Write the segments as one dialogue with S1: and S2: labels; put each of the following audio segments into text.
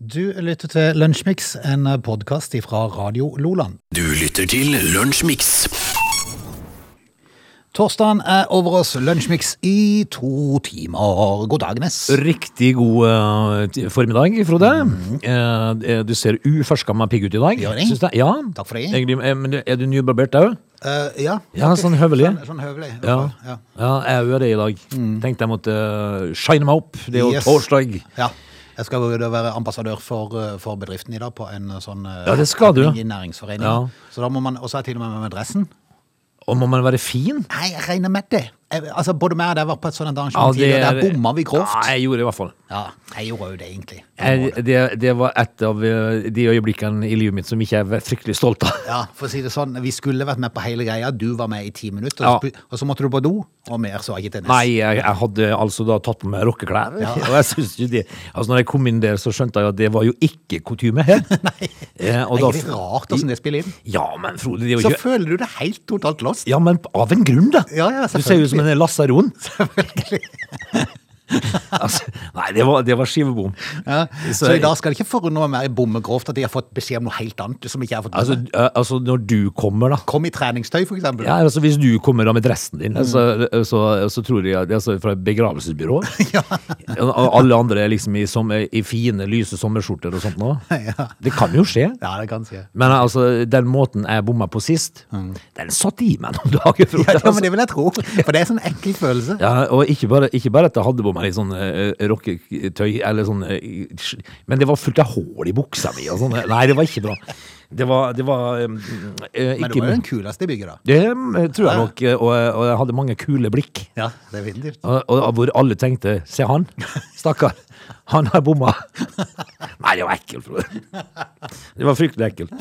S1: Du lytter til Lunsjmix, en podkast fra Radio Loland.
S2: Du lytter til Lunsjmix.
S1: Torsdagen er over oss. Lunsjmix i to timer. God dag, Ness.
S3: Riktig god eh, ti- formiddag, Frode. Eh, eh, du ser uforskamma pigg ut i dag.
S1: Mm. Gjør jeg?
S3: Syns jeg? Ja.
S1: Takk for det.
S3: Egentlig, eh, men du- er du nybarbert òg?
S1: Eh, ja.
S3: Ja, sånn høvelig.
S1: Sånn, sånn høvelig. i hvert
S3: Ja.
S1: fall. ja. Mm.
S3: ja, jeg er jo det i dag. Tenkte jeg måtte eh, shine meg opp. Det er jo
S1: Yes.
S3: torsdag.
S1: Ja. Jeg skal jo da være ambassadør for, eh, for bedriften i dag på en eh, sånn eh,
S3: Ja, det skal du.
S1: happening i næringsforeningen.
S3: Ja.
S1: Så da må man, Og så er jeg til og med med dressen.
S3: Og må man være fin?
S1: Nei, jeg regner med det. Jeg, altså, Både meg og deg var på et sånt
S3: Ja,
S1: arrangement tidligere. Der bomma vi grovt. Ja,
S3: Ja,
S1: jeg...
S3: jeg gjorde det i hvert fall.
S1: gjorde jo det, egentlig.
S3: Jeg, det, det var et av eh, de øyeblikkene i livet mitt som ikke jeg er fryktelig stolt av.
S1: Ja, for å si det sånn, Vi skulle vært med på hele greia. Du var med i ti minutter,
S3: Ja.
S1: og, så, og så måtte du på do. Og mer så ikke til neste.
S3: Nei, jeg, jeg hadde altså da tatt på meg rockeklær. Og jeg synes jo det Altså når jeg kom inn der, så skjønte jeg jo at det var jo ikke kutyme her. Eh, og
S1: det
S3: da-
S1: er litt rart hvordan det spiller inn.
S3: Ja, men Frode, det er
S1: Så
S3: jo ikke
S1: føler du det helt totalt lost.
S3: Ja, men av en grunn, da.
S1: Ja, ja,
S3: du ser jo ut som en lasaron.
S1: Selvfølgelig.
S3: Altså, nei, det var, det var skivebom.
S1: Ja.
S3: Så
S1: Så i
S3: jeg-
S1: dag skal det ikke forundre meg mer i bommegrovt at de har fått beskjed om noe helt annet. som ikke jeg har fått
S3: Altså,
S1: med meg.
S3: eh, altså, når du kommer, da.
S1: Kom i treningstøy, for eksempel.
S3: Ja, altså Hvis du kommer da med dressen din,
S1: Mm.
S3: så, så, så tror jeg det er altså fra et begravelsesbyrå. Og Alle andre er liksom i, som, i fine, lyse sommerskjorter og sånt nå.
S1: Ja.
S3: Det kan jo skje.
S1: Ja, det kan jeg si.
S3: Men altså, den måten jeg bomma på sist, den satt i meg noen dager. Frode,
S1: Mm. Ja,
S3: altså.
S1: men det vil jeg tro. For det er en sånn ekkel følelse.
S3: Ja, og ikke bare, ikke bare at jeg hadde på meg litt sånn eh, rocketøy, eller sånn eh, sk- Men det var fullt av hull i buksa mi og sånn. Nei, det var ikke bra. Det var, det var eh, eh,
S1: Men du
S3: ikke
S1: var jo den kuleste i bygget, da.
S3: Det eh, tror jeg nok. eh, Og, og jeg hadde mange kule blikk.
S1: Ja, definitivt.
S3: Og, og, hvor alle tenkte 'se han, stakkar, han har bomma'. Nei, det var ekkelt, Frode. Det var fryktelig ekkelt.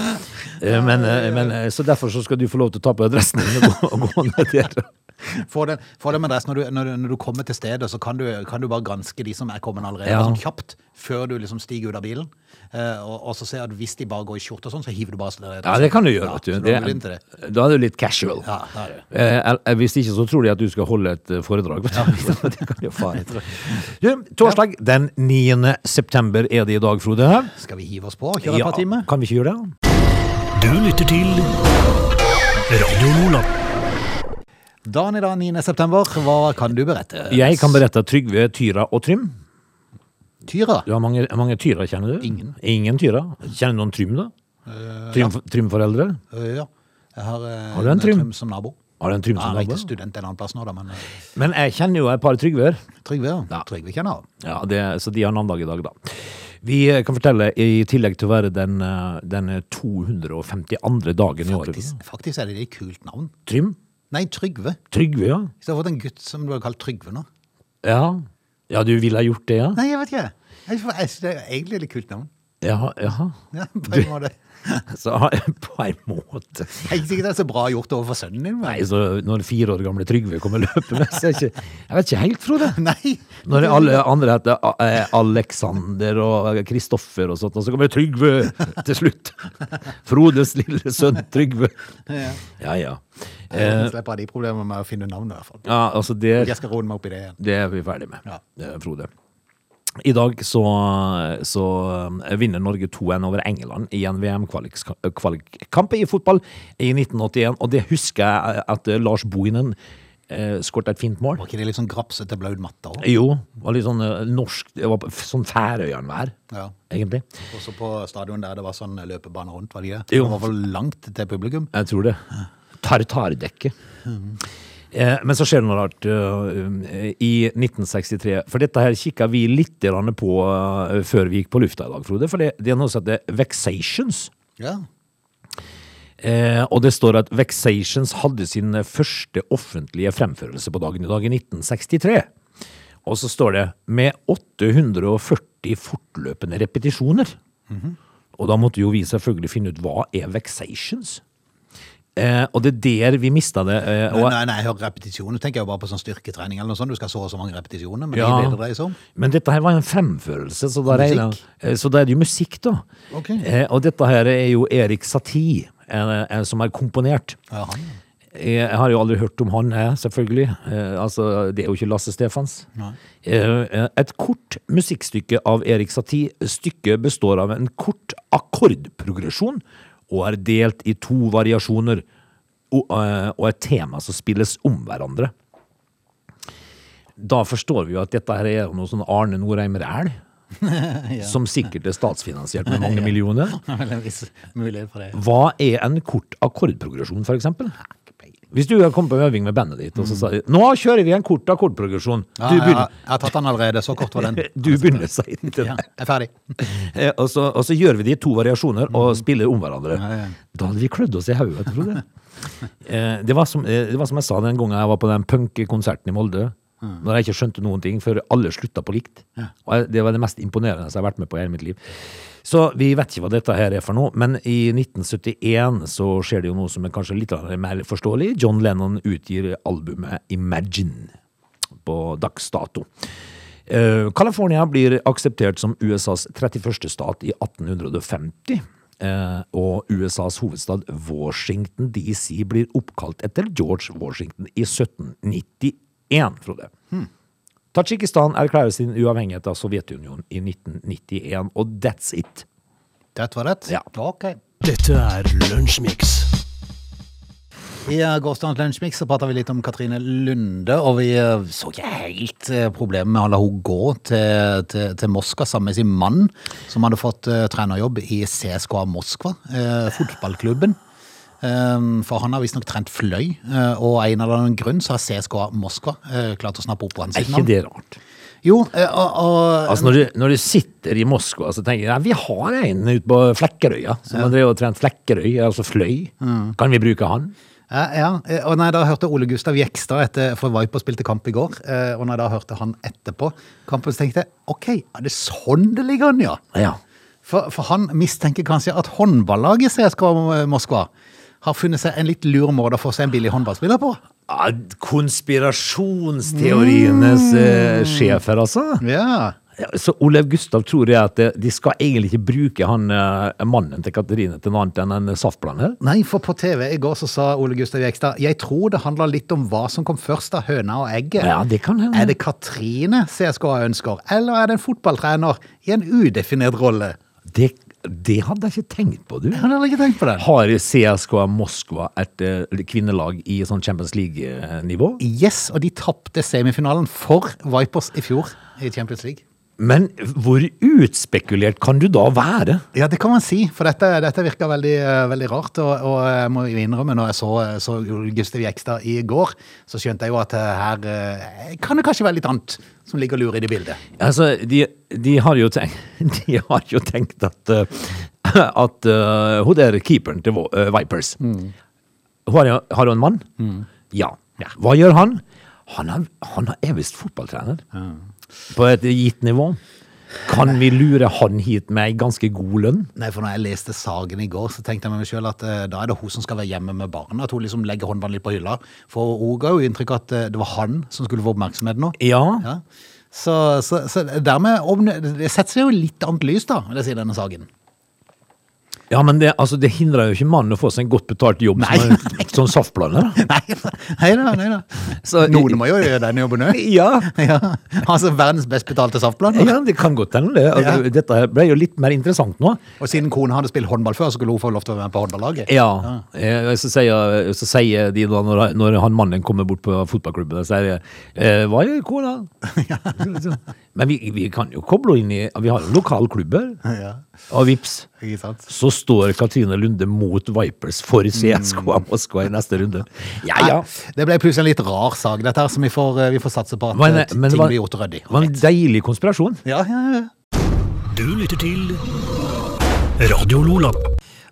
S3: Eh, Men, eh, men, eh, så derfor så skal du få lov til å ta på dressen din og gå, og gå ned der.
S1: Få den, få den med dress når du, når, du- når du kommer til stedet, så kan du, kan du bare granske de som er kommet allerede,
S3: Ja.
S1: sånn kjapt, før du liksom stiger ut av bilen. Eh, og, og så ser jeg at hvis de bare går i skjorte og sånn, så hiver du bare stedet.
S3: Ja, det kan du gjøre.
S1: Ja,
S3: vet du.
S1: så da
S3: Det-
S1: går du inn til det.
S3: Da er du litt casual.
S1: Ja, det er det.
S3: Eh, el- eh, hvis ikke så tror de at du skal holde et eh, foredrag. vet du. det kan jo faen ikke. Du, torsdag den 9. september er det i dag, Frode.
S1: Skal vi hive oss på og kjøre et
S3: Ja,
S1: par timer?
S3: Kan vi ikke gjøre det?
S2: Du lytter til Radio Lola.
S1: Dagen i dag, 9. september, hva kan du berette?
S3: Jeg kan berette at Trygve, Tyra og Trym.
S1: Tyra?
S3: Du har mange, mange Tyra, kjenner du?
S1: Ingen.
S3: Ingen Tyra. Kjenner du noen Trym, da? Trym, Trym-foreldre?
S1: Øh, Eh, ja. Jeg har, eh,
S3: Har du en Trym?
S1: som nabo.
S3: Har du en Trym
S1: Ja,
S3: som
S1: jeg er ikke
S3: nabo?
S1: student en annen plass nå, da, men eh,
S3: Men jeg kjenner jo et par Trygver.
S1: Trygve, ja. Trygve kjenner jeg.
S3: Ja, det, så de har navndag i dag, da. Vi eh, kan fortelle, i tillegg til å være den, eh, den 252. dagen i året
S1: Faktisk, faktisk er det et kult navn.
S3: Trym?
S1: Nei, Trygve.
S3: Trygve, ja.
S1: Hvis jeg hadde fått en gutt som du hadde kalt Trygve nå
S3: ja. Ja, du ville ha gjort det, ja?
S1: Nei, jeg vet ikke. Jeg, synes- jeg, synes det er egentlig et litt kult navn.
S3: Ja, ja.
S1: Ja, på en måte.
S3: Så, på en måte.
S1: Jeg er ikke sikkert det er så bra gjort overfor sønnen din.
S3: Nei,
S1: Men.
S3: så når fire år gamle Trygve kommer løpende, så er ikke Jeg vet ikke helt, Frode.
S1: Nei.
S3: Når alle andre heter eh, Alexander og Kristoffer og sånt, og så kommer Trygve til slutt. Frodes lille sønn Trygve.
S1: Ja.
S3: Ja, ja.
S1: Jeg slipper av de problemene med å finne navnet, i hvert fall.
S3: Ja, altså det
S1: Jeg skal roe meg opp i det igjen.
S3: Det er vi ferdig med,
S1: Ja.
S3: eh, Frode. I dag så, så eh, vinner Norge 2-1 over England i en VM-kvalikkamp i fotball i 1981. Og det husker jeg at eh, Lars Bohinen eh, skåret et fint mål.
S1: Var ikke det litt sånn grapsete, blaut matte òg?
S3: Jo, var litt sånn eh, norsk Det var f- sånn Færøyene-vær,
S1: Ja.
S3: egentlig.
S1: Også på stadion der det var sånn løpebane rundt, var det ikke det?
S3: Jo.
S1: Det var for langt til publikum.
S3: Jeg tror det. Tartardekket. Eh, Men så skjer det noe rart eh, i 1963. For dette her kikka vi litt grann på eh, før vi gikk på lufta i dag, Frode. For det, det er noe som heter Vexations.
S1: Ja.
S3: Eh, og det står at Vexations hadde sin første offentlige fremførelse på dagen i dag i 1963. Og så står det med 840 fortløpende repetisjoner. Og da måtte jo vi selvfølgelig finne ut hva er Vexations? Eh, og det er der vi mista det. Eh, og,
S1: Nei, nei, nei, jeg hører repetisjoner. Tenker jeg jo bare på sånn styrketrening eller noe sånt. Du skal så og så mange repetisjoner, men det er liksom. det det dreier seg om.
S3: Men dette her var en fremførelse, så da, regner,
S1: Musikk?
S3: eh, så da er det jo musikk, da.
S1: Ok.
S3: Eh, og dette her er jo Erik Satie, eh, eh, som er komponert.
S1: Jaha.
S3: Jeg har jo aldri hørt om han, jeg, selvfølgelig. Eh, altså, det er jo ikke Lasse Stefans.
S1: Nei.
S3: Eh, et kort musikkstykke av Erik Satie. Stykket består av en kort akkordprogresjon og er delt i to variasjoner og, eh, og et tema som spilles om hverandre. Da forstår vi jo at dette her er jo noe sånn Arne Norheim Ræl, som sikkert er statsfinansiert med mange millioner.
S1: Det er vel en viss mulighet for det.
S3: Hva er en kort akkordprogresjon, for eksempel? Hvis du har kommet på øving med bandet ditt, og så sa de nå kjører vi en kort akkordprogresjon.
S1: Mm. Ja,
S3: Du
S1: jeg, jeg,
S3: begynner,
S1: har tatt den allerede, så kort var den.
S3: du begynner sier de til
S1: Ja,
S3: deg.
S1: jeg er ferdig.
S3: Eh, Og så, og så gjør vi det i to variasjoner og spiller om hverandre.
S1: Mm. Ja, ja.
S3: Da hadde vi klødd oss i hodet, tror jeg. Eh, Det var, som, eh, det var som jeg sa den gangen jeg var på den punkekonserten i Molde. Når jeg ikke skjønte noen ting før alle slutta på likt. Og jeg- Det var det mest imponerende jeg har vært med på i hele mitt liv. Så vi vet ikke hva dette her er for noe, men i 1971 så skjer det jo noe som er kanskje litt mer forståelig. John Lennon utgir albumet Imagine på dags dato. Eh, California blir akseptert som USAs 31. stat i 1850. eh, Og USAs hovedstad Washington DC blir oppkalt etter George Washington i 1791, Frode. Tadsjikistan erklærer sin uavhengighet av Sovjetunionen i 1991, og that's it.
S1: Det var det?
S3: Ja.
S1: Ok.
S2: Dette er Lunsjmix.
S1: I eh, gårsdagens Lunsjmix så prata vi litt om Katrine Lunde, og vi eh, så ikke helt eh, problemet med å la henne gå til, til, til Moskva sammen med sin mann, som hadde fått eh, trenerjobb i CSKA Moskva, eh, fotballklubben. Eh, for han har visstnok trent fløy, eh, og av en eller annen grunn så har CSKA Moskva eh, klart å snappe opp på hans
S3: Er ikke
S1: navn.
S3: det rart?
S1: Jo, eh, og, og
S3: Altså når du, når du sitter i Moskva så tenker jeg, vi har en ute på Flekkerøya, som har drevet og trent Flekkerøy, altså fløy. Kan vi bruke han?
S1: Ja, ja. eh, Og når jeg da hørte Ole Gustav Gjekstad etter, for Viper spilte kamp i går, eh, og når jeg da hørte han etterpå kampen, så tenkte jeg OK, er det sånn det ligger an, ja?
S3: Ja.
S1: For, for han mistenker kanskje at håndballaget i CSKA eh, Moskva har funnet seg en litt lur måte å få seg en billig håndballspiller på.
S3: Ja, Ah, Konspirasjonsteorienes eh, sjef her, altså.
S1: Ja.
S3: Ja, Så Olav Gustav tror jeg at eh, de skal egentlig ikke bruke han eh, mannen til Katrine til noe annet enn en saftblander.
S1: Nei, for på TV i går så sa Ole Gustav Gjekstad jeg tror det handler litt om hva som kom først av høna og egget.
S3: Ja, det kan hende.
S1: Er det Katrine CSKA ønsker, eller er det en fotballtrener i en udefinert rolle?
S3: Det, det hadde jeg ikke tenkt på, du.
S1: Jeg hadde aldri tenkt på det.
S3: Har CSKA Moskva et eh, kvinnelag i sånn Champions League-nivå?
S1: Yes, og de tapte semifinalen for Vipers i fjor i Champions League.
S3: Men hvor utspekulert kan du da være?
S1: Ja, det kan man si, for dette, dette virker veldig, eh, veldig rart. Og, og jeg må jo innrømme, når jeg så, eh, så Gustav Gjekstad i går, så skjønte jeg jo at eh, her eh, kan det kanskje være litt annet som ligger og lurer i det bildet.
S3: Altså, de, de, har, jo tenkt, de har jo tenkt at eh, At eh, hun der keeperen til Vo- eh, Vipers Hun har, jo- har hun en mann? Mm. Ja. Hva gjør han? Han er, han er visst fotballtrener. På et gitt nivå. Kan vi lure han hit med ei ganske god lønn?
S1: Nei, for når jeg leste saken i går, så tenkte jeg med meg sjøl at eh, da er det hun som skal være hjemme med barna. At hun liksom legger håndballen litt på hylla. For hun ga jo inntrykk av at eh, det var han som skulle få oppmerksomhet nå.
S3: Ja.
S1: Ja. Så, så, så dermed omne- det setter seg jo litt annet lys, da, vil jeg si, denne saken.
S3: Ja, men det, altså, det hindrer jo ikke mannen å få seg en godt betalt jobb
S1: Nei,
S3: som, en- som saftblander. da.
S1: Nei, nei da, nei da.
S3: Så-
S1: Noen må jo gjøre den jobben òg.
S3: Ja.
S1: Ja. Altså verdens best betalte saftblander.
S3: ja, det kan godt hende det. Altså,
S1: Ja.
S3: Dette her ble jo litt mer interessant nå.
S1: Og siden kona hadde spilt håndball før, så skulle hun få lov til å være med på håndballaget.
S3: Ja, eh, Så, sier, så sier de da, når, når han mannen kommer bort på fotballklubben, så sier de, eh, hva gjør kona? Men vi, vi kan jo koble inn i, vi har jo lokalklubber,
S1: Ja.
S3: og vips,
S1: Ikke sant?
S3: så står Katrine Lunde mot Vipers for
S1: Mm.
S3: CSKA Moskva i neste runde. Ja, ja.
S1: Nei, Det ble plutselig en litt rar sak, dette her, som vi får, vi får satse på at
S3: Men,
S1: eh, ting
S3: men det var,
S1: blir gjort ryddig.
S3: var en deilig konspirasjon.
S1: Ja, ja, ja.
S2: Du lytter til Radio Lola.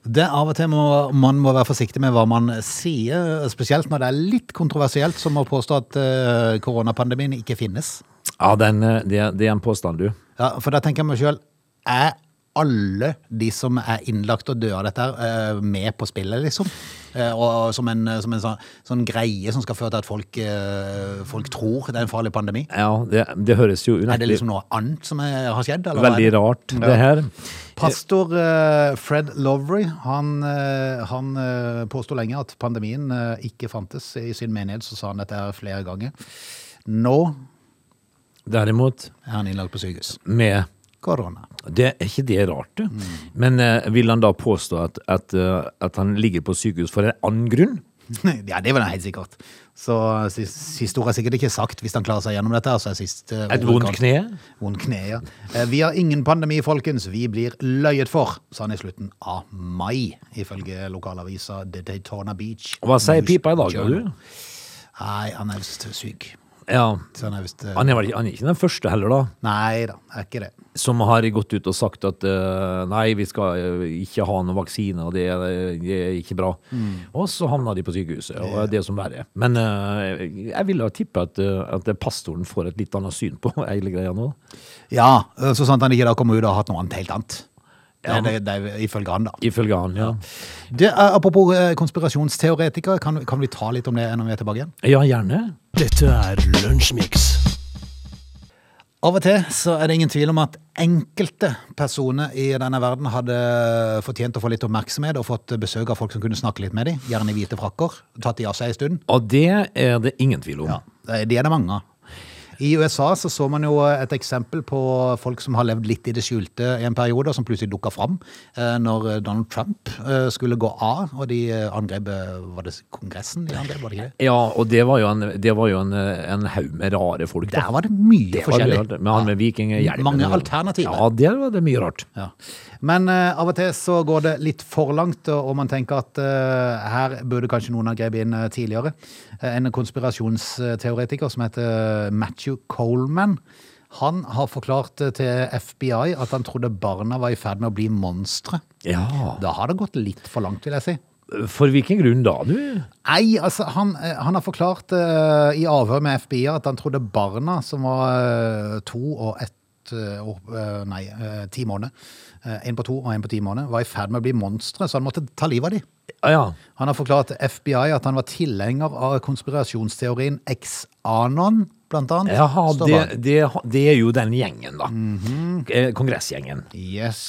S1: Det er Av og til må man må være forsiktig med hva man sier, spesielt når det er litt kontroversielt, som å påstå at eh, koronapandemien ikke finnes.
S3: Ja, den, eh, det, det er en påstand, du.
S1: Ja, For da tenker jeg meg sjøl Er alle de som er innlagt og døde av dette, her, eh, med på spillet, liksom. Eh, Og som en, som en sånn, sånn greie som skal føre til at folk, eh, folk tror det er en farlig pandemi.
S3: Ja, det, det høres jo
S1: Er det
S3: unektelig
S1: liksom noe annet som er, har skjedd? eller hva er
S3: veldig
S1: det?
S3: rart,
S1: Ja.
S3: det her.
S1: Pastor eh, Fred Lovery han, eh, han eh, påsto lenge at pandemien eh, ikke fantes i sin menighet, så sa han dette her flere ganger. Nå
S3: Derimot,
S1: er han innlagt på sykehus.
S3: med
S1: Korona.
S3: Det er ikke det rart, det. Men eh, vil han da påstå at, at, eh, at han ligger på sykehus for en annen grunn?
S1: ja, det var det helt sikkert. Så sist, siste ord er sikkert ikke sagt hvis han klarer seg gjennom dette. her, Så er siste
S3: Et vondt kne?
S1: Vondt kne, ja. Eh, Vi har ingen pandemi, folkens. Vi blir løyet for, sa han i slutten av mai, ifølge lokalavisa The Daytona Beach.
S3: Hva sier
S1: News
S3: pipa i dag, da,
S1: Journal.
S3: du?
S1: Nei, han er visst syk.
S3: Ja.
S1: Så han er visst eh,
S3: Han er, vel ikke- han er ikke den første heller, da,
S1: Nei da, er ikke det.
S3: som har gått ut og sagt at eh, nei, vi skal eh, ikke ha noen vaksine, og det, er- det er ikke bra. Og så havna de på sykehuset, og det er som verre er. Men eh, jeg ville ha tippe at, eh, at pastoren får et litt annet syn på hele greia nå.
S1: Ja, eh, så sant han ikke da kommer ut og har hatt noe annet helt annet. Det,
S3: Ja,
S1: det, det, er ifølge han, da.
S3: Ifølge han, ja.
S1: Det, er- apropos eh, konspirasjonsteoretikere, kan, kan vi ta litt om det når vi er tilbake igjen?
S3: Ja, gjerne.
S2: Dette er Lunsjmix.
S1: Av og til så er det ingen tvil om at enkelte personer i denne verden hadde fortjent å få litt oppmerksomhet og fått besøk av folk som kunne snakke litt med dem, gjerne i hvite frakker, tatt de av seg en stund.
S3: Og det er det ingen tvil om.
S1: Ja, de er det mange av. I USA så så man jo et eksempel på folk som har levd litt i det skjulte i en periode, og som plutselig dukka fram eh, når Donald Trump eh, skulle gå av, og de eh, angrep eh, Var det Kongressen de angrep, var det ikke det?
S3: Ja, og det var jo en, det var jo en, en haug med rare folk. da.
S1: Der var det mye
S3: Det var mye
S1: forskjellig.
S3: rart, Men han med vikinghjelmen.
S1: Mange alternativer.
S3: Ja, der var det mye rart.
S1: Ja. Men eh, av og til så går det litt for langt, og og man tenker at eh, her burde kanskje noen ha grepet inn eh, tidligere. Eh, en konspirasjonsteoretiker som heter eh, Matthew Coleman, han har forklart eh, til FBI at han trodde barna var i ferd med å bli monstre.
S3: Ja.
S1: Da har det gått litt for langt, vil jeg si.
S3: For hvilken grunn da, du?
S1: Nei, altså, han, eh, han har forklart eh, i avhør med FBI at han trodde barna som var eh, to og ett eh, år, eh, nei, eh, ti måneder, eh, en på to og en på ti måneder, var i ferd med å bli monstre, så han måtte ta livet av dem.
S3: Ja, ja.
S1: Han har forklart til FBI at han var tilhenger av konspirasjonsteorien ex-anon, blant annet.
S3: Jaha,
S1: står
S3: det,
S1: bak. Mhm.
S3: det, det er jo den gjengen, da. Eh, Kongressgjengen.
S1: Yes.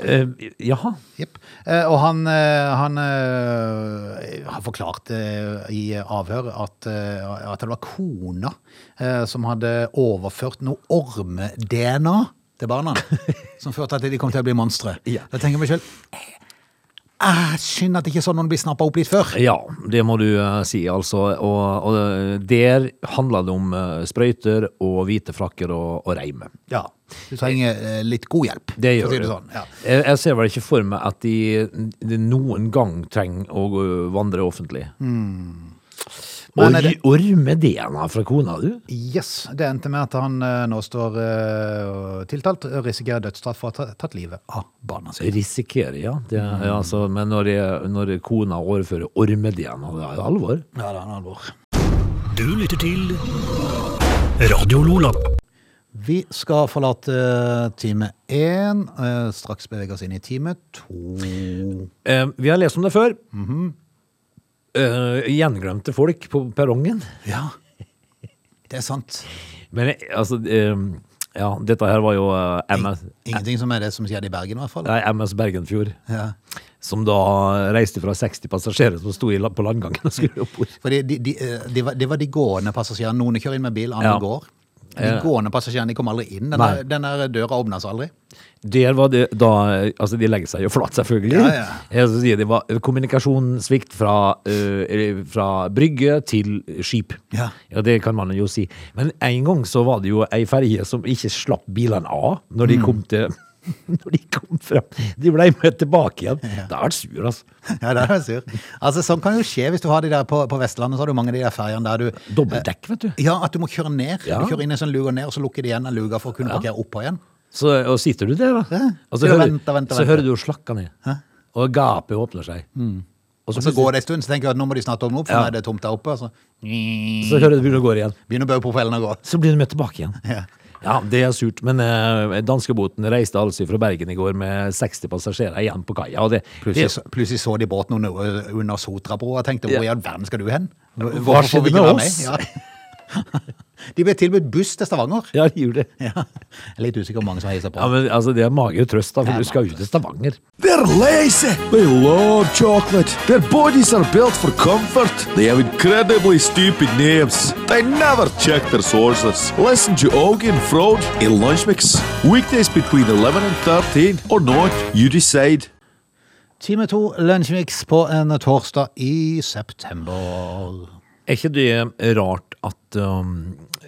S3: Eh, jaha.
S1: Jepp. Eh, Og han, eh, han eh, har forklart eh, i avhør at, eh, at det var kona eh, som hadde overført noe orme-DNA til barna, som førte til at de kom til å bli monstre.
S3: Ja.
S1: Da tenker jeg meg selv, eh, synd at ikke sånn noen blir snappa opp litt før.
S3: Ja, det må du eh, si, altså. Og, og der handla det om eh, sprøyter og hvite frakker og, og reime.
S1: Ja. Du trenger eh, litt god hjelp.
S3: Det
S1: for å
S3: gjør
S1: si
S3: du.
S1: Sånn. Ja.
S3: jeg, jeg ser vel ikke for meg at de, de noen gang trenger å gå- vandre offentlig.
S1: Men
S3: Og
S1: Hmm. er det-
S3: ry- orme det han har fra kona, du?
S1: Yes, Det endte med at han eh, nå står eh, tiltalt, risikerer dødsstraff for å ha ta- tatt livet av barna sine.
S3: Risikerer, ja. Det,
S1: Hmm.
S3: ja altså, men når, jeg, når kona overfører orme-DNA, det er alvor.
S1: Ja, det er alvor.
S2: Du lytter til Radio Lola.
S1: Vi skal forlate time én. eh, Straks bevege oss inn i time to.
S3: Eh, vi har lest om det før.
S1: Mm-hmm.
S3: eh, gjenglemte folk på perrongen.
S1: Ja, det er sant.
S3: Men eh, altså eh, Ja, dette her var jo eh, MS,
S1: Ingenting som er det som skjedde i Bergen, i hvert fall.
S3: nei, MS Bergenfjord.
S1: Ja.
S3: som da reiste fra 60 passasjerer som sto i la- på landgangen og skulle opp bord.
S1: Fordi de, de, eh, det var, det var de gående passasjerene. Noen kjører inn med bil, andre
S3: Ja.
S1: går. De gående passasjerene de kom aldri inn. Den,
S3: Nei.
S1: der, den der døra åpna seg aldri.
S3: Der var det da Altså, de legger seg jo flat, selvfølgelig.
S1: Ja, ja.
S3: Jeg skal si, det var kommunikasjonssvikt fra, eh, fra brygge til skip.
S1: Ja.
S3: det kan man jo si. Men en gang så var det jo ei ferje som ikke slapp bilene av når
S1: Mm.
S3: de kom til Når de kom fram. De ble med tilbake igjen. Da er det sur, altså.
S1: Ja, det er jeg sur. Altså, sånn kan jo skje hvis du har de der på, på Vestlandet. Så har du mange av de der ferjene der du
S3: Dobbeltdekk, vet du.
S1: Ja, at du må kjøre ned.
S3: Ja.
S1: Du kjører inn i en sånn luge ned, og så lukker de igjen den luga for å kunne parkere oppå igjen.
S3: Så, og sitter du der, da.
S1: Ja.
S3: Og så
S1: Ja,
S3: hører,
S1: venter, venter,
S3: så
S1: venter.
S3: hører du jo slakka ned. Og gapet åpner seg. Og
S1: Mm. Og
S3: så,
S1: så går det en stund, så tenker jeg at nå må de snart ordne opp, for
S3: Ja.
S1: nå er det tomt der oppe. og Så
S3: så hører du begynner å gå igjen.
S1: begynner bare propellen å gå.
S3: Så blir du med tilbake igjen.
S1: Ja.
S3: Ja, det er surt, men eh, danskebåten reiste altså fra Bergen i går med 60 passasjerer igjen på kaia. og det-
S1: Plutselig,
S3: det-
S1: så- plutselig så de båten under, øh, under Sotrabroa og tenkte hvor i all verden skal du hen?
S3: Hva
S1: Hvorfor får vi
S3: skjedde
S1: ikke
S3: med
S1: være
S3: oss?
S1: Ja. De ble tilbudt buss til Stavanger.
S3: Ja, de gjorde det.
S1: Ja. Jeg er litt usikker på hvor mange som heiser på.
S3: Ja, men altså, Det er magetrøst, da, for du skal jo til Stavanger.
S4: They're lazy. They love chocolate. Their bodies are built for comfort. They have incredibly stupid names. They never check their sources. Listen to Augie and Frode in Lunch Mix. Weekdays between 11 and 13 or not, you decide.
S1: Time to lunsjmix på en torsdag i september.
S3: Er ikke det rart at um,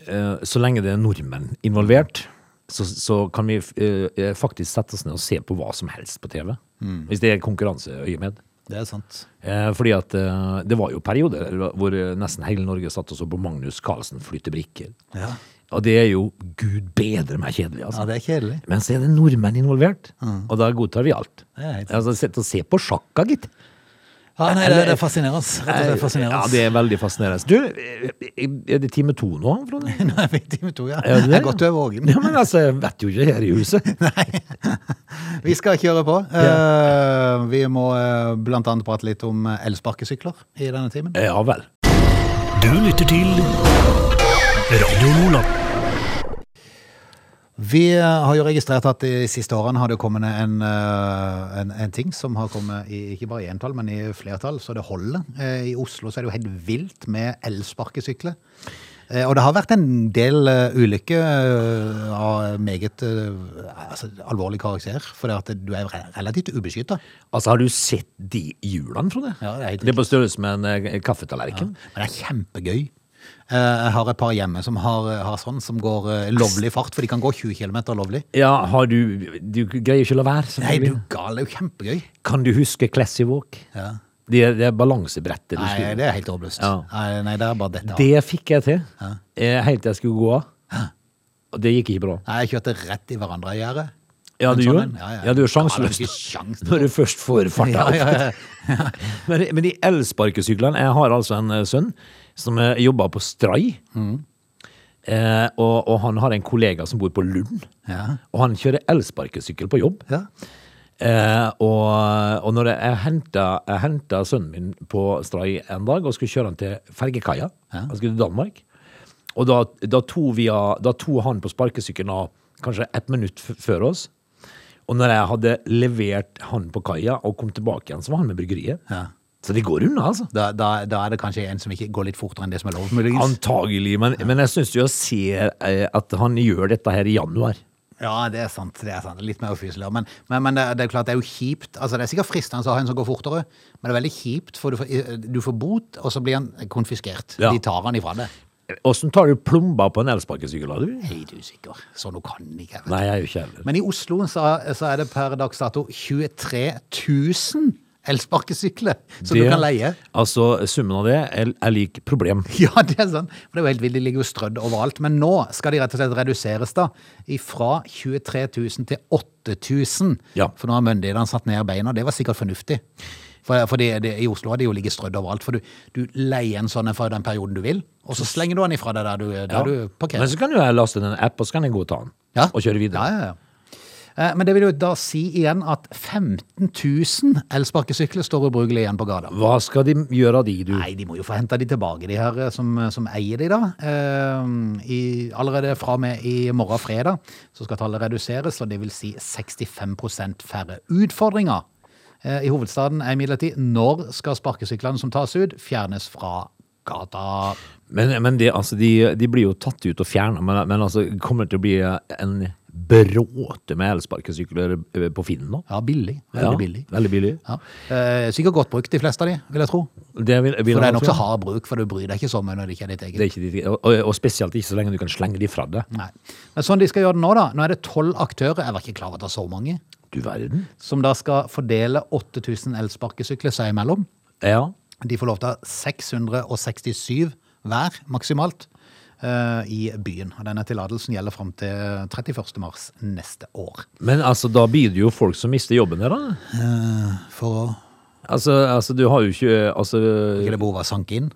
S3: eh, så lenge det er nordmenn involvert, så, så kan vi eh, faktisk sette oss ned og se på hva som helst på TV?
S1: Mm.
S3: Hvis det er konkurranseøyemed.
S1: Det er sant.
S3: Eh, fordi at eh, det var jo perioder hvor eh, nesten hele Norge satt og så på Magnus Carlsen flytte brikker.
S1: Ja.
S3: Og det er jo gud bedre meg kjedelig, altså.
S1: Ja, det er kjedelig.
S3: Men så er det nordmenn involvert, og da godtar vi alt.
S1: Det er helt sant.
S3: Altså, sett og se på sjakka, gitt. Eh,
S1: Ja, nei, det, det er fascinerende. Rett og slett
S3: Ja,
S1: fascinerende.
S3: det er veldig fascinerende. Du, eh, er det time to nå, Frode?
S1: Nei, vi er i time to, ja.
S3: Er det det?
S1: Jeg er godt over ågen.
S3: Ja, men altså, jeg vet jo ikke her i huset.
S1: Vi skal kjøre på. Eh, vi må eh, blant annet prate litt om eh, elsparkesykler i denne timen.
S3: Ja vel.
S2: Du lytter til Radio Lola.
S1: Vi eh, har jo registrert at de siste årene har det kommet en, eh, en, en ting som har kommet i, ikke bare i entall, men i flertall, så det holder. Eh, I Oslo så er det jo helt vilt med elsparkesykler. Eh, Og det har vært en del eh, ulykker eh, av meget eh, altså, alvorlig karakter, for at du er re- relativt ubeskytta.
S3: Altså, har du sett de hjulene, Frode?
S1: Ja, det er helt
S3: Det er på størrelse med en eh, kaffetallerken.
S1: Men det er kjempegøy. Eh, Jeg har et par hjemme som har, har sånn, som går eh, lovlig fart, for de kan gå 20 km lovlig.
S3: Ja, har du Du greier ikke å la være?
S1: Nei,
S3: selvfølgelig.
S1: du gal, det er jo kjempegøy.
S3: Kan du huske Classy Walk?
S1: Ja.
S3: Det er, det er balansebrettet du
S1: Nei,
S3: skulle
S1: det er helt håpløst.
S3: Ja.
S1: Nei, nei, det er bare dette. av.
S3: Det fikk jeg til. Eh, Helt til jeg skulle gå av. Og det gikk ikke bra.
S1: Nei, jeg kjørte rett i hverandre i gjerdet.
S3: Ja,
S1: En
S3: du
S1: sånn
S3: gjorde
S1: en?
S3: det?
S1: Ja, ja.
S3: Ja, du
S1: Ja, det
S3: er
S1: er ikke
S3: sjanseløs
S1: sjans til
S3: når du først får farta
S1: Ja,
S3: opp.
S1: ja, ja.
S3: Men, men de elsparkesyklene Jeg har altså en eh, sønn som eh, jobber på Stray.
S1: Mm.
S3: Eh, og, og han har en kollega som bor på Lund.
S1: Ja.
S3: Og han kjører elsparkesykkel på jobb.
S1: Ja.
S3: Eh, og, og når jeg henta, jeg henta sønnen min på Stray en dag og skulle kjøre han til fergekaia, han skulle til Danmark, og da, da, tog vi, av- da tog han på sparkesykkelen av kanskje ett minutt f før oss. Og når jeg hadde levert han på kaia og kom tilbake igjen, så var han med bryggeriet.
S1: Ja.
S3: Så det går unna, altså.
S1: Da, da, da er det kanskje en som ikke går litt fortere enn det som er lov, muligens.
S3: Antagelig. Men, men jeg syns jo jeg ser eh, at han gjør dette her i januar.
S1: Ja, det er sant. det er sant. Litt mer ufyselig. Men, men, men det, er- det er klart det er jo kjipt. Altså, det er sikkert fristende å ha en som går fortere, men det er veldig kjipt, for du får, eh, du får bot, og så blir han konfiskert.
S3: Ja.
S1: De tar han ifra deg.
S3: Åssen tar du plomba på en elsparkesykkel, da, du?
S1: Helt usikker. Så nå kan jeg ikke. jeg vet.
S3: Nei, jeg er jo ikke heller.
S1: Men i Oslo så, så er det per dags dato 23 000 elsparkesykler som du
S3: Det-
S1: kan leie.
S3: Altså, summen av det er, er lik problem.
S1: Ja, det er sånn. For det er jo helt vilt, de ligger jo strødd overalt. Men nå skal de rett og slett reduseres da, fra 23 000 til 8000.
S3: Ja.
S1: For nå har myndighetene satt ned beina, det var sikkert fornuftig. For, for det, det, i Oslo har de jo ligget strødd overalt, for du, du leier en sånn en for den perioden du vil, og så slenger du den ifra deg der du, der
S3: Ja.
S1: du parkerer.
S3: Men så kan jo jeg laste ned en app, og så kan jeg gå og ta den.
S1: Ja.
S3: Og kjøre videre.
S1: Ja, ja, ja. Eh, Men det vil jo da si igjen at 15 000 elsparkesykler står ubrukelig igjen på gata.
S3: Hva skal de gjøre av de, du?
S1: Nei, de må jo få henta de tilbake, de her eh, som, som eier de, da. Eh, I, allerede fra og med i morgen fredag så skal tallet reduseres, og det vil si 65 færre utfordringer. Eh, I hovedstaden er imidlertid når skal sparkesyklene som tas ut, fjernes fra gata?
S3: Men, men det, altså, de, de blir jo tatt ut og fjerna, men, men altså, kommer det til å bli en bråte med elsparkesykler eh, på Finn nå?
S1: Ja, billig. Veldig
S3: Ja,
S1: billig.
S3: Veldig billig.
S1: Ja. Eh, Sikkert godt brukt, de fleste av de, vil jeg tro.
S3: Det, vil, vil
S1: For det
S3: jeg
S1: er
S3: tro.
S1: nokså hard bruk, for du bryr deg ikke så mye når det ikke er ditt eget.
S3: Det er ikke ditt, og, og- og spesielt ikke så lenge du kan slenge de fra deg.
S1: Nei. Men sånn de skal gjøre det nå, da. Nå er det tolv aktører, jeg var ikke klar over at det er så mange,
S3: Du verden.
S1: som da skal fordele 8000 elsparkesykler seg imellom.
S3: Ja.
S1: De får lov til å ha 667 hver, maksimalt, eh, i byen. Og denne tillatelsen gjelder fram til 31. mars neste år.
S3: Men altså, da blir det jo folk som mister jobben der, da.
S1: For å
S3: Altså, altså du har jo ikke Altså
S1: ikke det behovet å sanke inn.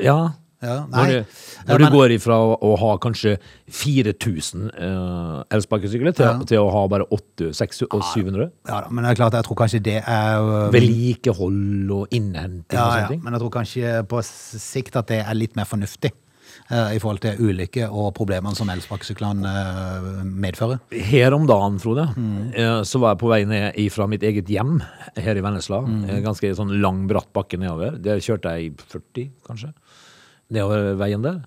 S3: Ja.
S1: Ja,
S3: Når,
S1: nei.
S3: du, når
S1: Ja, men-
S3: du går ifra å, å ha kanskje 4000 eh, elsparkesykler til,
S1: Ja.
S3: til å ha bare 800-700. og 700.
S1: Ja da, men det er klart, jeg tror kanskje det er øh,
S3: Vedlikehold og innhenting
S1: ja,
S3: og
S1: ja,
S3: sånne ting.
S1: Men jeg tror kanskje på s- sikt at det er litt mer fornuftig eh, i forhold til ulykker og problemene som elsparkesyklene eh, medfører.
S3: Her om dagen, Frode, eh, så var jeg på vei ned fra mitt eget hjem her i Vennesla.
S1: Mm.
S3: Eh, Ganske sånn lang, bratt bakke nedover. Der kjørte jeg i 40, kanskje, nedover veien der.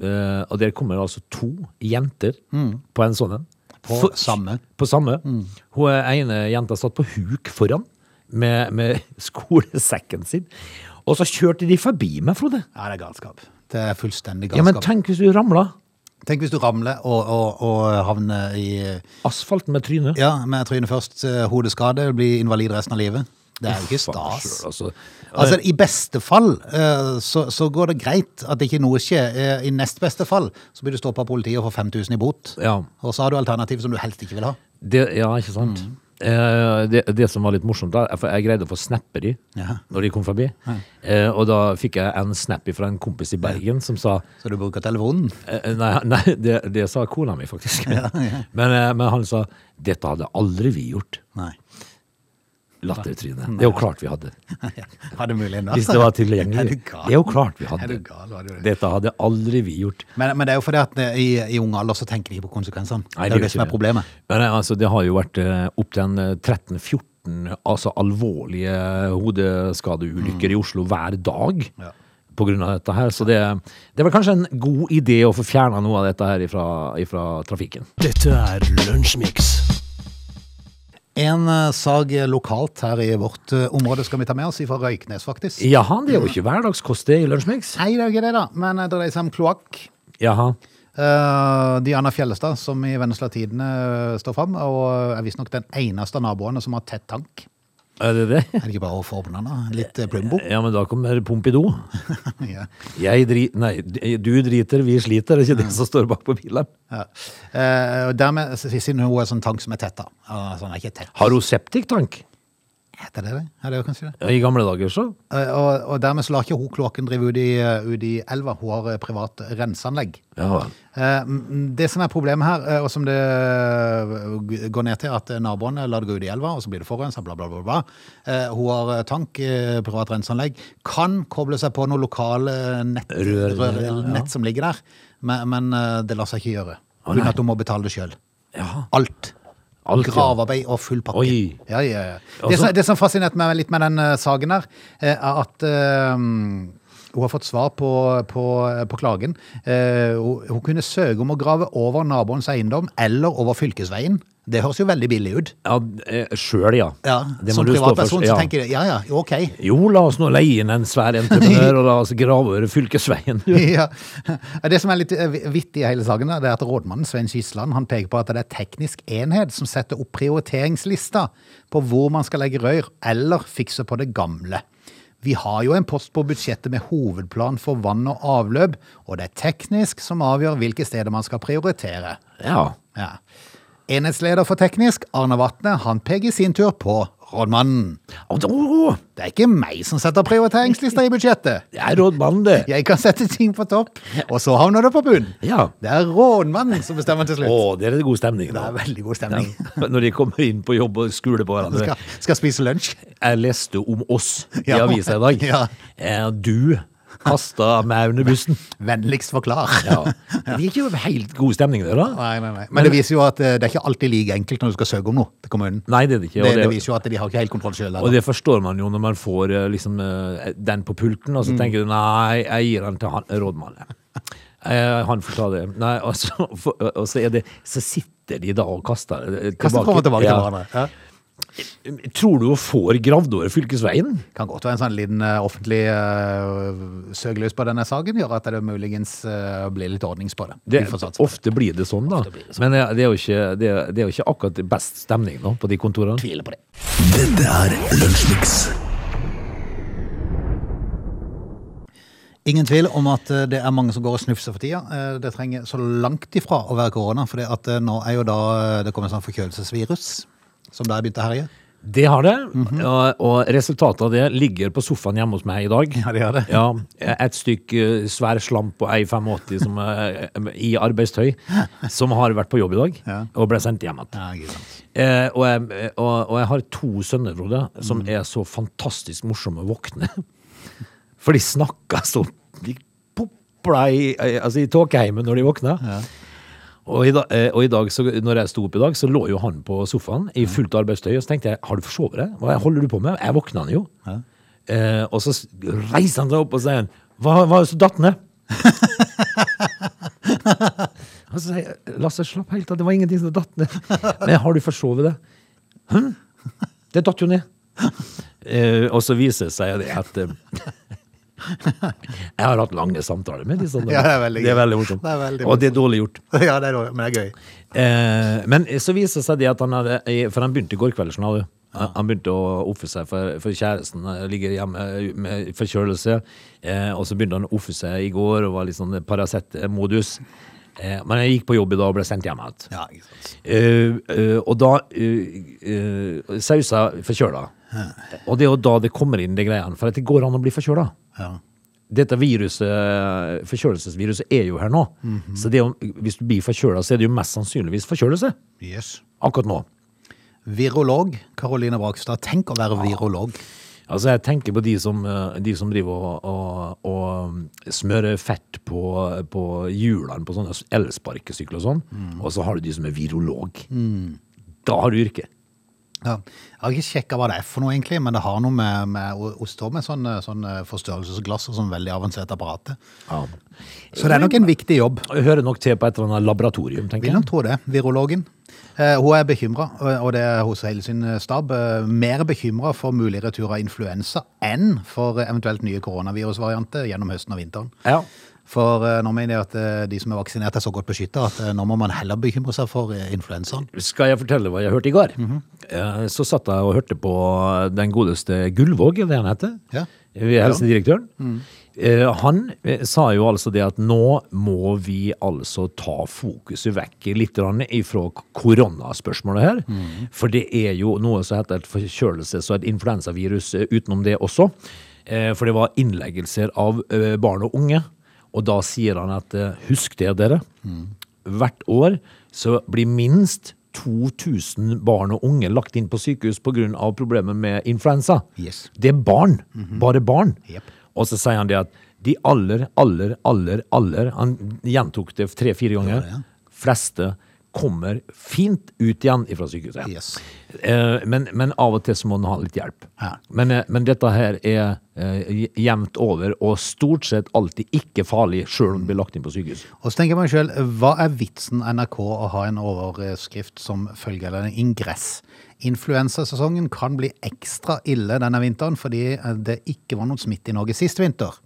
S3: Eh, og der kommer altså to jenter på en sånn en.
S1: Mm. På
S3: For-
S1: samme. Mm.
S3: På samme. Hun er- ene jenta satt på huk foran med, med skolesekken sin. Og så kjørte de forbi meg, Frode.
S1: Ja, det er galskap. Det er fullstendig
S3: Ja, men
S1: galskap.
S3: tenk hvis du ramla.
S1: Tenk hvis du ramler og, og, og havner i
S3: Asfalten med trynet.
S1: Ja, med trynet først, eh, hodeskade, blir invalid resten av livet. Det er jo ikke
S3: Faen,
S1: stas.
S3: selv, altså.
S1: Altså, I beste fall eh, så, så går det greit at ikke noe skjer. Eh, I nest beste fall så blir du stoppa av politiet og får 5000 i bot.
S3: Ja.
S1: Og så har du alternativ som du helst ikke vil ha.
S3: Det, ja, ikke sant?
S1: Mm.
S3: Eh, det, det som var litt morsomt, da, for jeg greide å få snapper i
S1: Ja.
S3: når de kom forbi. Eh, og da fikk jeg en snap fra en kompis i Bergen som sa
S1: Så du bruker telefonen.
S3: eh, Nei, nei det, det sa kona mi, faktisk. Men, eh, men han sa 'Dette hadde aldri vi gjort'.
S1: Nei.
S3: Lattertryne. Det er jo klart vi hadde.
S1: Hadde muligheten da.
S3: Hvis det var
S1: Altså, Er
S3: tilgjengelig.
S1: du gal?
S3: Det er jo klart vi
S1: Er du
S3: hadde.
S1: gal? Var det jo det?
S3: Dette hadde aldri vi gjort.
S1: Men, men det er jo fordi at eh, i, i ung alder så tenker de ikke på konsekvensene.
S3: Nei,
S1: det er
S3: gjør
S1: jo det som
S3: ikke
S1: er problemet.
S3: Men eh, altså, det har jo vært eh, opp til en, eh, 13-14 altså, alvorlige hodeskadeulykker i Oslo hver dag.
S1: Ja.
S3: På grunn av dette her, så det, det var kanskje en god idé å få fjerna noe av dette her ifra, ifra trafikken.
S2: Dette er Lunsjmix.
S1: En uh, sag lokalt her i vårt eh, område skal vi ta med oss, fra Røyknes faktisk.
S3: Jaha, det er jo ikke hverdagskost det i Lunsjmix.
S1: Nei, det er jo ikke det da, men eh, det dreier seg om kloakk.
S3: Jaha.
S1: Eh, Diana Fjellestad, som i Vennesla Tidene eh, står fram, og er visstnok den eneste av naboene som har tett tank.
S3: Er det det?
S1: Er det ikke bare å få åpne den da? Litt eh, Plumbo?
S3: Ja, men da kommer Pompidou. eh.
S1: ja.
S3: Jeg driter Nei, du driter, vi sliter. Det er ikke det som står bak på bilen.
S1: Ja. Eh, og dermed, s- siden hun er sånn tank som er tett da. Uh, sånn er ikke tett.
S3: Har hun septiktank?
S1: Heter det det? Ja, det er jo kanskje det.
S3: I gamle dager, så.
S1: Eh, og, og dermed så lar ikke hun kloakken drive ut i, eh, ut i elva. Hun har eh, privat renseanlegg.
S3: Ja vel.
S1: Eh, mm, Det som er problemet her, eh, og som det eh, går ned til at naboene lar det gå ut i elva, og så blir det forurensa, bla, bla, bla. bla. Eh, Hun har eh, tank, eh, privat renseanlegg, kan koble seg på noen lokale nett,
S3: Rør,
S1: rør,
S3: ja, ja.
S1: nett som ligger der, men, men eh, det lar seg ikke gjøre.
S3: Å, nei.
S1: Uten at hun må betale det sjøl.
S3: Ja.
S1: Alt.
S3: Alt, ja.
S1: Gravarbeid og full pakke.
S3: Oi.
S1: Ja, ja, ja.
S3: Og
S1: Det,
S3: så-
S1: som, det som fascinerte meg litt med den eh, saken her, eh, er at eh, hun har fått svar på, på, på klagen. Eh, hun, hun kunne søke om å grave over naboens eiendom eller over fylkesveien. Det høres jo veldig billig ut.
S3: Ja, eh, sjøl, ja. Det må
S1: Som
S3: du stå for.
S1: privatperson
S3: Ja.
S1: så tenker du ja ja, ok.
S3: Jo, la oss nå leie inn en svær entreprenør og la oss grave over fylkesveien.
S1: ja. Det som er litt eh, vittig i hele saken, da, det er at rådmannen Svein Skisland han peker på at det er teknisk enhet som setter opp prioriteringslista på hvor man skal legge rør eller fikse på det gamle. Vi har jo en post på budsjettet med hovedplan for vann og avløp, og det er teknisk som avgjør hvilke steder man skal prioritere.
S3: Ja.
S1: Ja. Enhetsleder for teknisk, Arne Vatne, han peker i sin tur på rådmannen.
S3: Å, å, å,
S1: Det er ikke meg som setter prioriteringslista i budsjettet.
S3: det er rådmannen, det.
S1: Jeg kan sette ting på topp, og så havner det på bunn.
S3: Ja.
S1: Det er rådmannen som bestemmer til
S3: Å,
S1: slutt.
S3: det er god stemning.
S1: Det
S3: Da.
S1: er veldig god stemning.
S3: Når de kommer inn på jobb og skuler
S1: Du
S3: på hverandre.
S1: skal, skal spise lunsj.
S3: Jeg leste om oss i
S1: Ja.
S3: avisa i dag.
S1: Ja.
S3: Eh, Du kasta meg under bussen.
S1: Vennligst forklar.
S3: Ja. Det er ikke helt god stemning der, da.
S1: Nei, nei, nei. Men det viser jo at eh, det er ikke alltid like enkelt når du skal søke om noe til kommunen.
S3: Nei, det er det ikke.
S1: Det,
S3: og
S1: det
S3: det-
S1: viser jo at de har ikke helt kontroll sjøl.
S3: Og det forstår man jo når man får eh, liksom, eh, den på pulten,
S1: Mm.
S3: og så tenker du nei, jeg gir den til han, rådmannen. Eh, han får ta det. Nei, og, så, for, og så, er det, så sitter de da og kaster eh,
S1: Kaste fram og tilbake til
S3: Ja. Mm,
S1: hverandre. Ja.
S3: Tror du hun får gravd over fylkesveien?
S1: Kan godt være en sånn liten eh, offentlig uh, søkelys på denne saken gjør at det muligens eh, blir litt ordnings på det.
S3: Det,
S1: Vi får satse på det.
S3: ofte blir det sånn, da. Men eh, det er, jo ikke, det, er, det er jo ikke akkurat best stemning nå på de kontorene.
S1: Tviler på det.
S2: Dette er Lunsjmix.
S1: Ingen tvil om at eh, det er mange som går og snufser for tida. Eh, Det trenger så langt ifra eh, å være korona, for nå er jo da eh, det kommer sånn forkjølelsesvirus som da er begynt å herje.
S3: Det har det, og, og resultatet av det ligger på sofaen hjemme hos meg i dag.
S1: Ja, det gjør det.
S3: Ja, et stykk eh, svær slamp og ei 85 som, eh, i arbeidstøy, som har vært på jobb i dag, og ble sendt hjem igjen.
S1: Ja, ikke sant.
S3: Eh, og, jeg, og, og jeg har to sønner, Frode, som
S1: Mm.
S3: er så fantastisk morsomme å våkne. For de snakker så De popla i, eh, altså i tåkeheimen når de våkna. Og, i da, eh, og i dag, så, når jeg sto opp i dag, så lå jo han på sofaen i fullt arbeidstøy. Og så tenkte jeg, har du forsovet deg? Hva holder du på med? Jeg våkna han jo. Eh, og så s- reiser han seg opp og sier, hva, hva er det som datt ned? Og så sier jeg, Lasse, slapp helt av, det var ingenting som datt ned. Men har du forsovet det? Hm? Det datt jo ned. Eh, og så viser det seg det at eh, Jeg har hatt lange samtaler med de sånne.
S1: Ja, det er veldig gøy.
S3: morsomt.
S1: Det er veldig
S3: og det er dårlig gjort.
S1: Ja, det er dårlig, men det er gøy.
S3: Eh, men så viser det seg det at han hadde eh, For han begynte i går kveld, skjønner du. Han han begynte å oppføre seg for, for kjæresten. eh, Ligger hjemme med forkjølelse. Eh, og så begynte han å oppføre seg i går og var litt sånn Paracet-modus. Eh, men jeg gikk på jobb i dag og ble sendt hjem igjen.
S1: Ja, ikke sant.
S3: Eh, eh, og da uh, uh, Sausa forkjøla. Og det er jo da det kommer inn de greiene. For at det går an å bli forkjøla.
S1: Ja.
S3: Dette viruset, forkjølelsesviruset er jo her nå. Så det er jo, hvis du blir forkjøla, så er det jo mest sannsynligvis forkjølelse
S1: Yes.
S3: akkurat nå.
S1: Virolog Karoline Brakstad. Tenk å være virolog.
S3: Altså Jeg tenker på de som, eh, de som driver og, og, og smører fett på, på hjulene på sånne elsparkesykler og sånn.
S1: Mm.
S3: Og så har du de som er virolog. Da har du yrket.
S1: Ja. Jeg har ikke sjekka hva det er for noe, egentlig, men det har noe med, med o- Hun står med sånn, sånn forstørrelsesglass og sånn veldig avansert apparat.
S3: Ja.
S1: Så det er nok en viktig jobb.
S3: Jeg hører nok til på et eller annet laboratorium, tenker
S1: Vil
S3: jeg.
S1: han tro det, virologen? Eh, hun er bekymra, og det er hos hele sin stab. eh, Mer bekymra for mulig retur av influensa enn for eventuelt nye koronavirusvarianter gjennom høsten og vinteren.
S3: Ja.
S1: For eh, nå mener jeg at eh, de som er vaksinert, er så godt beskytta at eh, nå må man heller bekymre seg for eh, influensaen.
S3: Skal jeg fortelle hva jeg hørte i går?
S1: Mhm.
S3: Eh, Så satt jeg og hørte på den godeste Gullvåg, er det han heter?
S1: Ja. Mm.
S3: Helsedirektøren. Eh, Han eh, sa jo altså det at nå må vi altså ta fokuset vekk litt grann ifra k- koronaspørsmålet her.
S1: Mm.
S3: For det er jo noe som heter et forkjølelses- og et influensavirus eh, utenom det også. Eh, For det var innleggelser av eh, barn og unge. Og da sier han at eh, husk det, dere.
S1: Mm.
S3: Hvert år så blir minst 2000 barn og unge lagt inn på sykehus pga. problemer med influensa.
S1: Yes.
S3: Det er barn. Bare barn.
S1: Mhm. Jep.
S3: Og så sier han det at de aller, aller, aller, aller Han gjentok det tre-fire ganger.
S1: Ja, ja.
S3: Fleste kommer fint ut igjen fra sykehuset.
S1: Yes.
S3: Eh, men, men av og til så må en ha litt hjelp.
S1: Ja.
S3: Men, eh, men dette her er eh, jevnt over og stort sett alltid ikke farlig, sjøl om det blir lagt inn på sykehus.
S1: Og så tenker jeg meg selv, hva er vitsen NRK å ha en overskrift som følger eller en ingress? Influensasesongen kan bli ekstra ille denne vinteren fordi eh, det ikke var noen smitte i Norge sist vinter.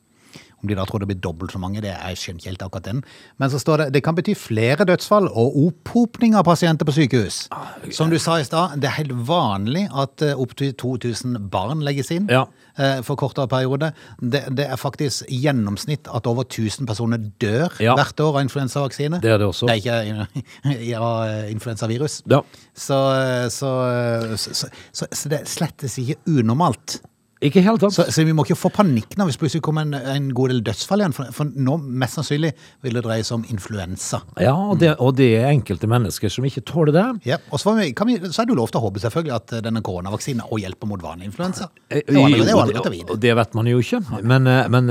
S1: Om de da tror det blir dobbelt så mange, det er jeg skjønner ikke helt akkurat den. Men så står det det kan bety flere dødsfall og opphopning av pasienter på sykehus.
S3: Ah,
S1: Som du sa i stad, det er helt vanlig at eh, opptil 2000 barn legges inn
S3: Ja.
S1: eh, for kortere periode. Det, det er faktisk gjennomsnitt at over 1000 personer dør
S3: Ja.
S1: hvert år av influensavaksine.
S3: Det er det også.
S1: Nei, ikke ja, influensavirus.
S3: Ja.
S1: Så, så, så, så, så, så det er slettes ikke unormalt.
S3: Ikke helt tatt.
S1: Så, så vi må ikke få panikk nå hvis plutselig kommer en, en god del dødsfall igjen. For, for nå mest sannsynlig vil det dreie seg om influensa.
S3: Ja, og det, og det er enkelte mennesker som ikke tåler det.
S1: Ja, og så, får vi, kan vi, så er det jo lov til å håpe selvfølgelig at denne koronavaksinen også hjelper mot vanlig influensa. Det er jo
S3: Eh, Jo,
S1: aldri- det er jo
S3: og
S1: aldri
S3: det,
S1: til å vite.
S3: og det vet man jo ikke. Men, eh, men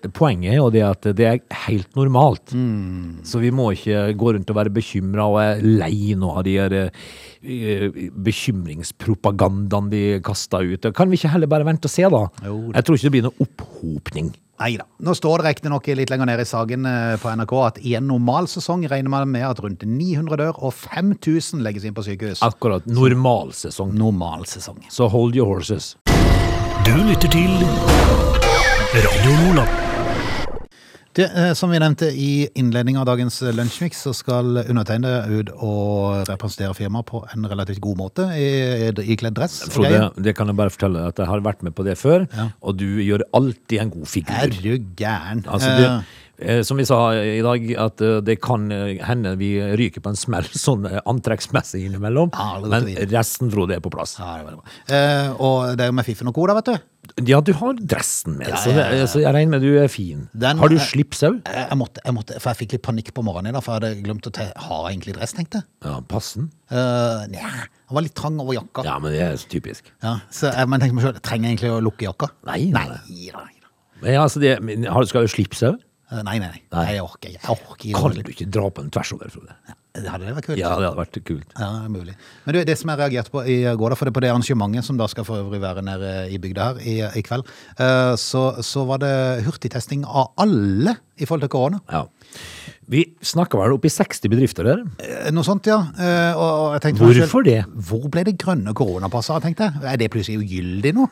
S3: eh, poenget er jo det at det er helt normalt.
S1: Mm.
S3: Så vi må ikke gå rundt og være bekymra og er lei nå av de her eh, eh, bekymringspropagandaen de kaster ut. Kan vi ikke heller bare vente og se, da?
S1: Jo da.
S3: Jeg tror ikke det blir noen opphopning.
S1: Nei da. Nå står det riktignok litt lenger ned i saken eh, på NRK at i en normal sesong regner man med at rundt 900 dør og 5000 legges inn på sykehus.
S3: Akkurat. Normalsesong.
S1: Normal sesong.
S3: Så hold your horses.
S2: Du lytter til Radio Lola.
S1: Det, eh, som vi nevnte i innledningen av dagens lunsjmix, så skal undertegnede ut og representere firmaet på en relativt god måte i, i kledd dress. og
S3: Frode,
S1: greier.
S3: det kan jeg bare fortelle deg at jeg har vært med på det før, og du gjør alltid en god figur.
S1: Er du gæren?
S3: Altså, det,
S1: Eh,
S3: Eh, Som vi sa i dag, at eh, det kan eh, hende vi ryker på en smell sånn eh, antrekksmessig innimellom.
S1: Ja, det går
S3: men
S1: fint.
S3: resten, Frode, er på plass.
S1: Ja, det er veldig bra. Eh, og det er jo med Fiffen og Co, da, vet du.
S3: Ja, du har dressen med,
S1: Ja,
S3: så,
S1: ja, ja.
S3: det, så jeg regner med du er fin.
S1: Den- eh,
S3: har du slips òg?
S1: Jeg, jeg, måtte, jeg måtte, for jeg fikk litt panikk på morgenen, i dag, for jeg hadde glemt å ta Har jeg egentlig dress, tenkte jeg.
S3: Ja, passen.
S1: Eh, Nja, han var litt trang over jakka. Ja.
S3: Ja, men det er så typisk.
S1: så jeg, men jeg tenker meg selv, trenger jeg egentlig å lukke jakka?
S3: Nei,
S1: nei,
S3: nei.
S1: nei. nei.
S3: Men, altså, det, men har du skal du ha slips òg?
S1: Eh, Nei, nei, nei.
S3: Nei.
S1: Jeg orker ikke. Jeg orker ikke.
S3: Kan du ikke dra på den tvers over, Frode?
S1: Det Hadde det vært kult?
S3: Ja, det hadde vært kult.
S1: Ja, det er mulig. Men du, det som jeg reagerte på i går, da, for det er på det arrangementet som da skal for øvrig være nede i bygda her i, i kveld, eh, så, så var det hurtigtesting av alle i forhold til korona.
S3: Ja. Vi snakker vel oppi 60 bedrifter der.
S1: Eh, Noe sånt, ja. Eh, Og, og jeg tenkte
S3: Hvorfor det?
S1: Hvor ble det grønne koronapasset av, tenkte jeg. Er det plutselig ugyldig nå?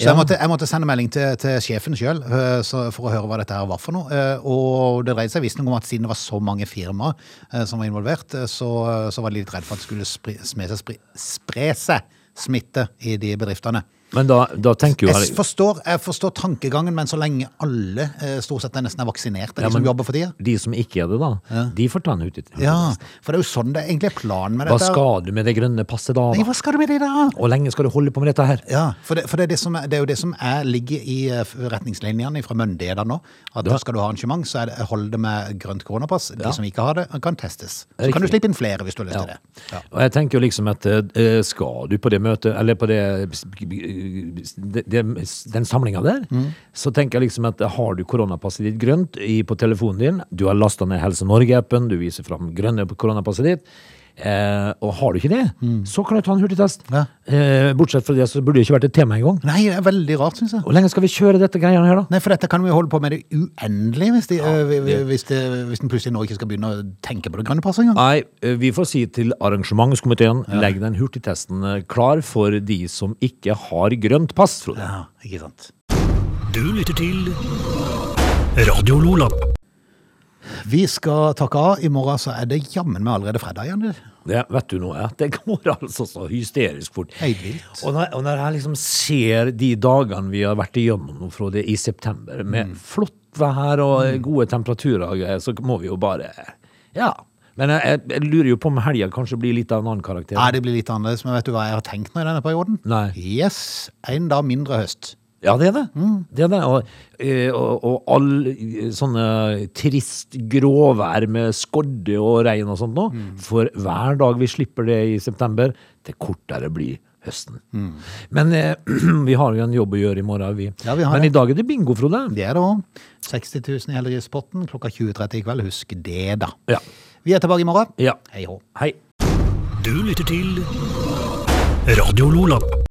S1: Så jeg måtte, jeg måtte sende melding til, til sjefen sjøl for å høre hva dette her var for noe. Eh, Og det dreide seg visstnok om at siden det var så mange firmaer eh, som var involvert, eh, så, så var de litt redd for at det skulle spre, sme seg, spre, spre seg smitte i de bedriftene.
S3: Men da, da tenker jo
S1: Jeg forstår, jeg forstår tankegangen, men så lenge alle eh, stort sett er nesten er vaksinerte, de
S3: Ja,
S1: som
S3: men-
S1: jobber for tida.
S3: de som ikke er det, da. De får ta den ut. ut-
S1: Ja, for det er jo sånn det egentlig er planen med
S3: Hva
S1: dette.
S3: skal du med det grønne passet da?
S1: Nei,
S3: da?
S1: hva skal du med det der?
S3: Hvor lenge skal du holde på med dette her?
S1: Ja, for det, for det, er, det, som er, det er jo det som er, ligger i eh, retningslinjene fra myndighetene nå. At
S3: Ja.
S1: skal du ha arrangement, så er det, hold det med grønt koronapass. De
S3: Ja.
S1: som ikke har det, kan testes. Så
S3: Riktig.
S1: kan du slippe inn flere hvis du har lyst til det. Ja.
S3: Og jeg tenker jo liksom at eh, skal du på det møtet, eller på det, det, det den samlinga der,
S1: Mm.
S3: så tenker jeg liksom at har du koronapasset ditt grønt i, på telefonen din, du har lasta ned Helse Norge-appen, du viser fram grønne på koronapasset ditt, eh, og har du ikke det, så kan du ta en hurtigtest.
S1: Mm. Ja.
S3: Eh, bortsett fra det så burde det ikke vært et tema engang.
S1: Nei, det er veldig rart, syns jeg.
S3: Hvor lenge skal vi kjøre dette greiene her, da?
S1: Nei, for dette kan vi holde på med det uendelig hvis, de, eh, vi- vi-
S3: det-
S1: hvis, det, hvis en plutselig nå ikke skal begynne å tenke på det grønne passet engang.
S3: Nei, eh, vi får si til arrangementskomiteen, legg den hurtigtesten eh, klar for de som ikke har grønt pass, Frode.
S1: Ja, ikke sant.
S2: Du lytter til Radio Lola.
S1: Vi skal takke av. I morgen så er det jammen meg allerede fredag igjen. du.
S3: Det vet du nå, ja. det går altså så hysterisk fort.
S1: Helt vilt.
S3: Og når, og når jeg liksom ser de dagene vi har vært igjennom nå, Frode, i september,
S1: Mm.
S3: med flott vær og eh, gode temperaturer, og greier, så må vi jo bare Ja. Men jeg, jeg, jeg lurer jo på om helga kanskje blir litt av en annen karakter.
S1: Nei, det blir litt annerledes, men vet du hva jeg har tenkt nå i denne perioden?
S3: Nei.
S1: Yes, en dag mindre høst.
S3: Ja, det er det.
S1: Mm.
S3: det, er det. Og, eh, og, og all eh, sånne trist gråvær med skodde og regn og sånt nå.
S1: Mm.
S3: For hver dag vi slipper det i september, til kortere blir høsten.
S1: Mm.
S3: Men eh, vi har jo en jobb å gjøre i morgen, vi.
S1: Ja, vi har
S3: Men
S1: det.
S3: i dag er det bingo, Frode.
S1: Det er det òg. 60 000 i Helligdagspotten klokka 20.30 i kveld. Husk det, da.
S3: Ja.
S1: Vi er tilbake i morgen.
S3: Ja.
S1: Hei hå.
S3: Hei.
S2: Du lytter til Radio Lola.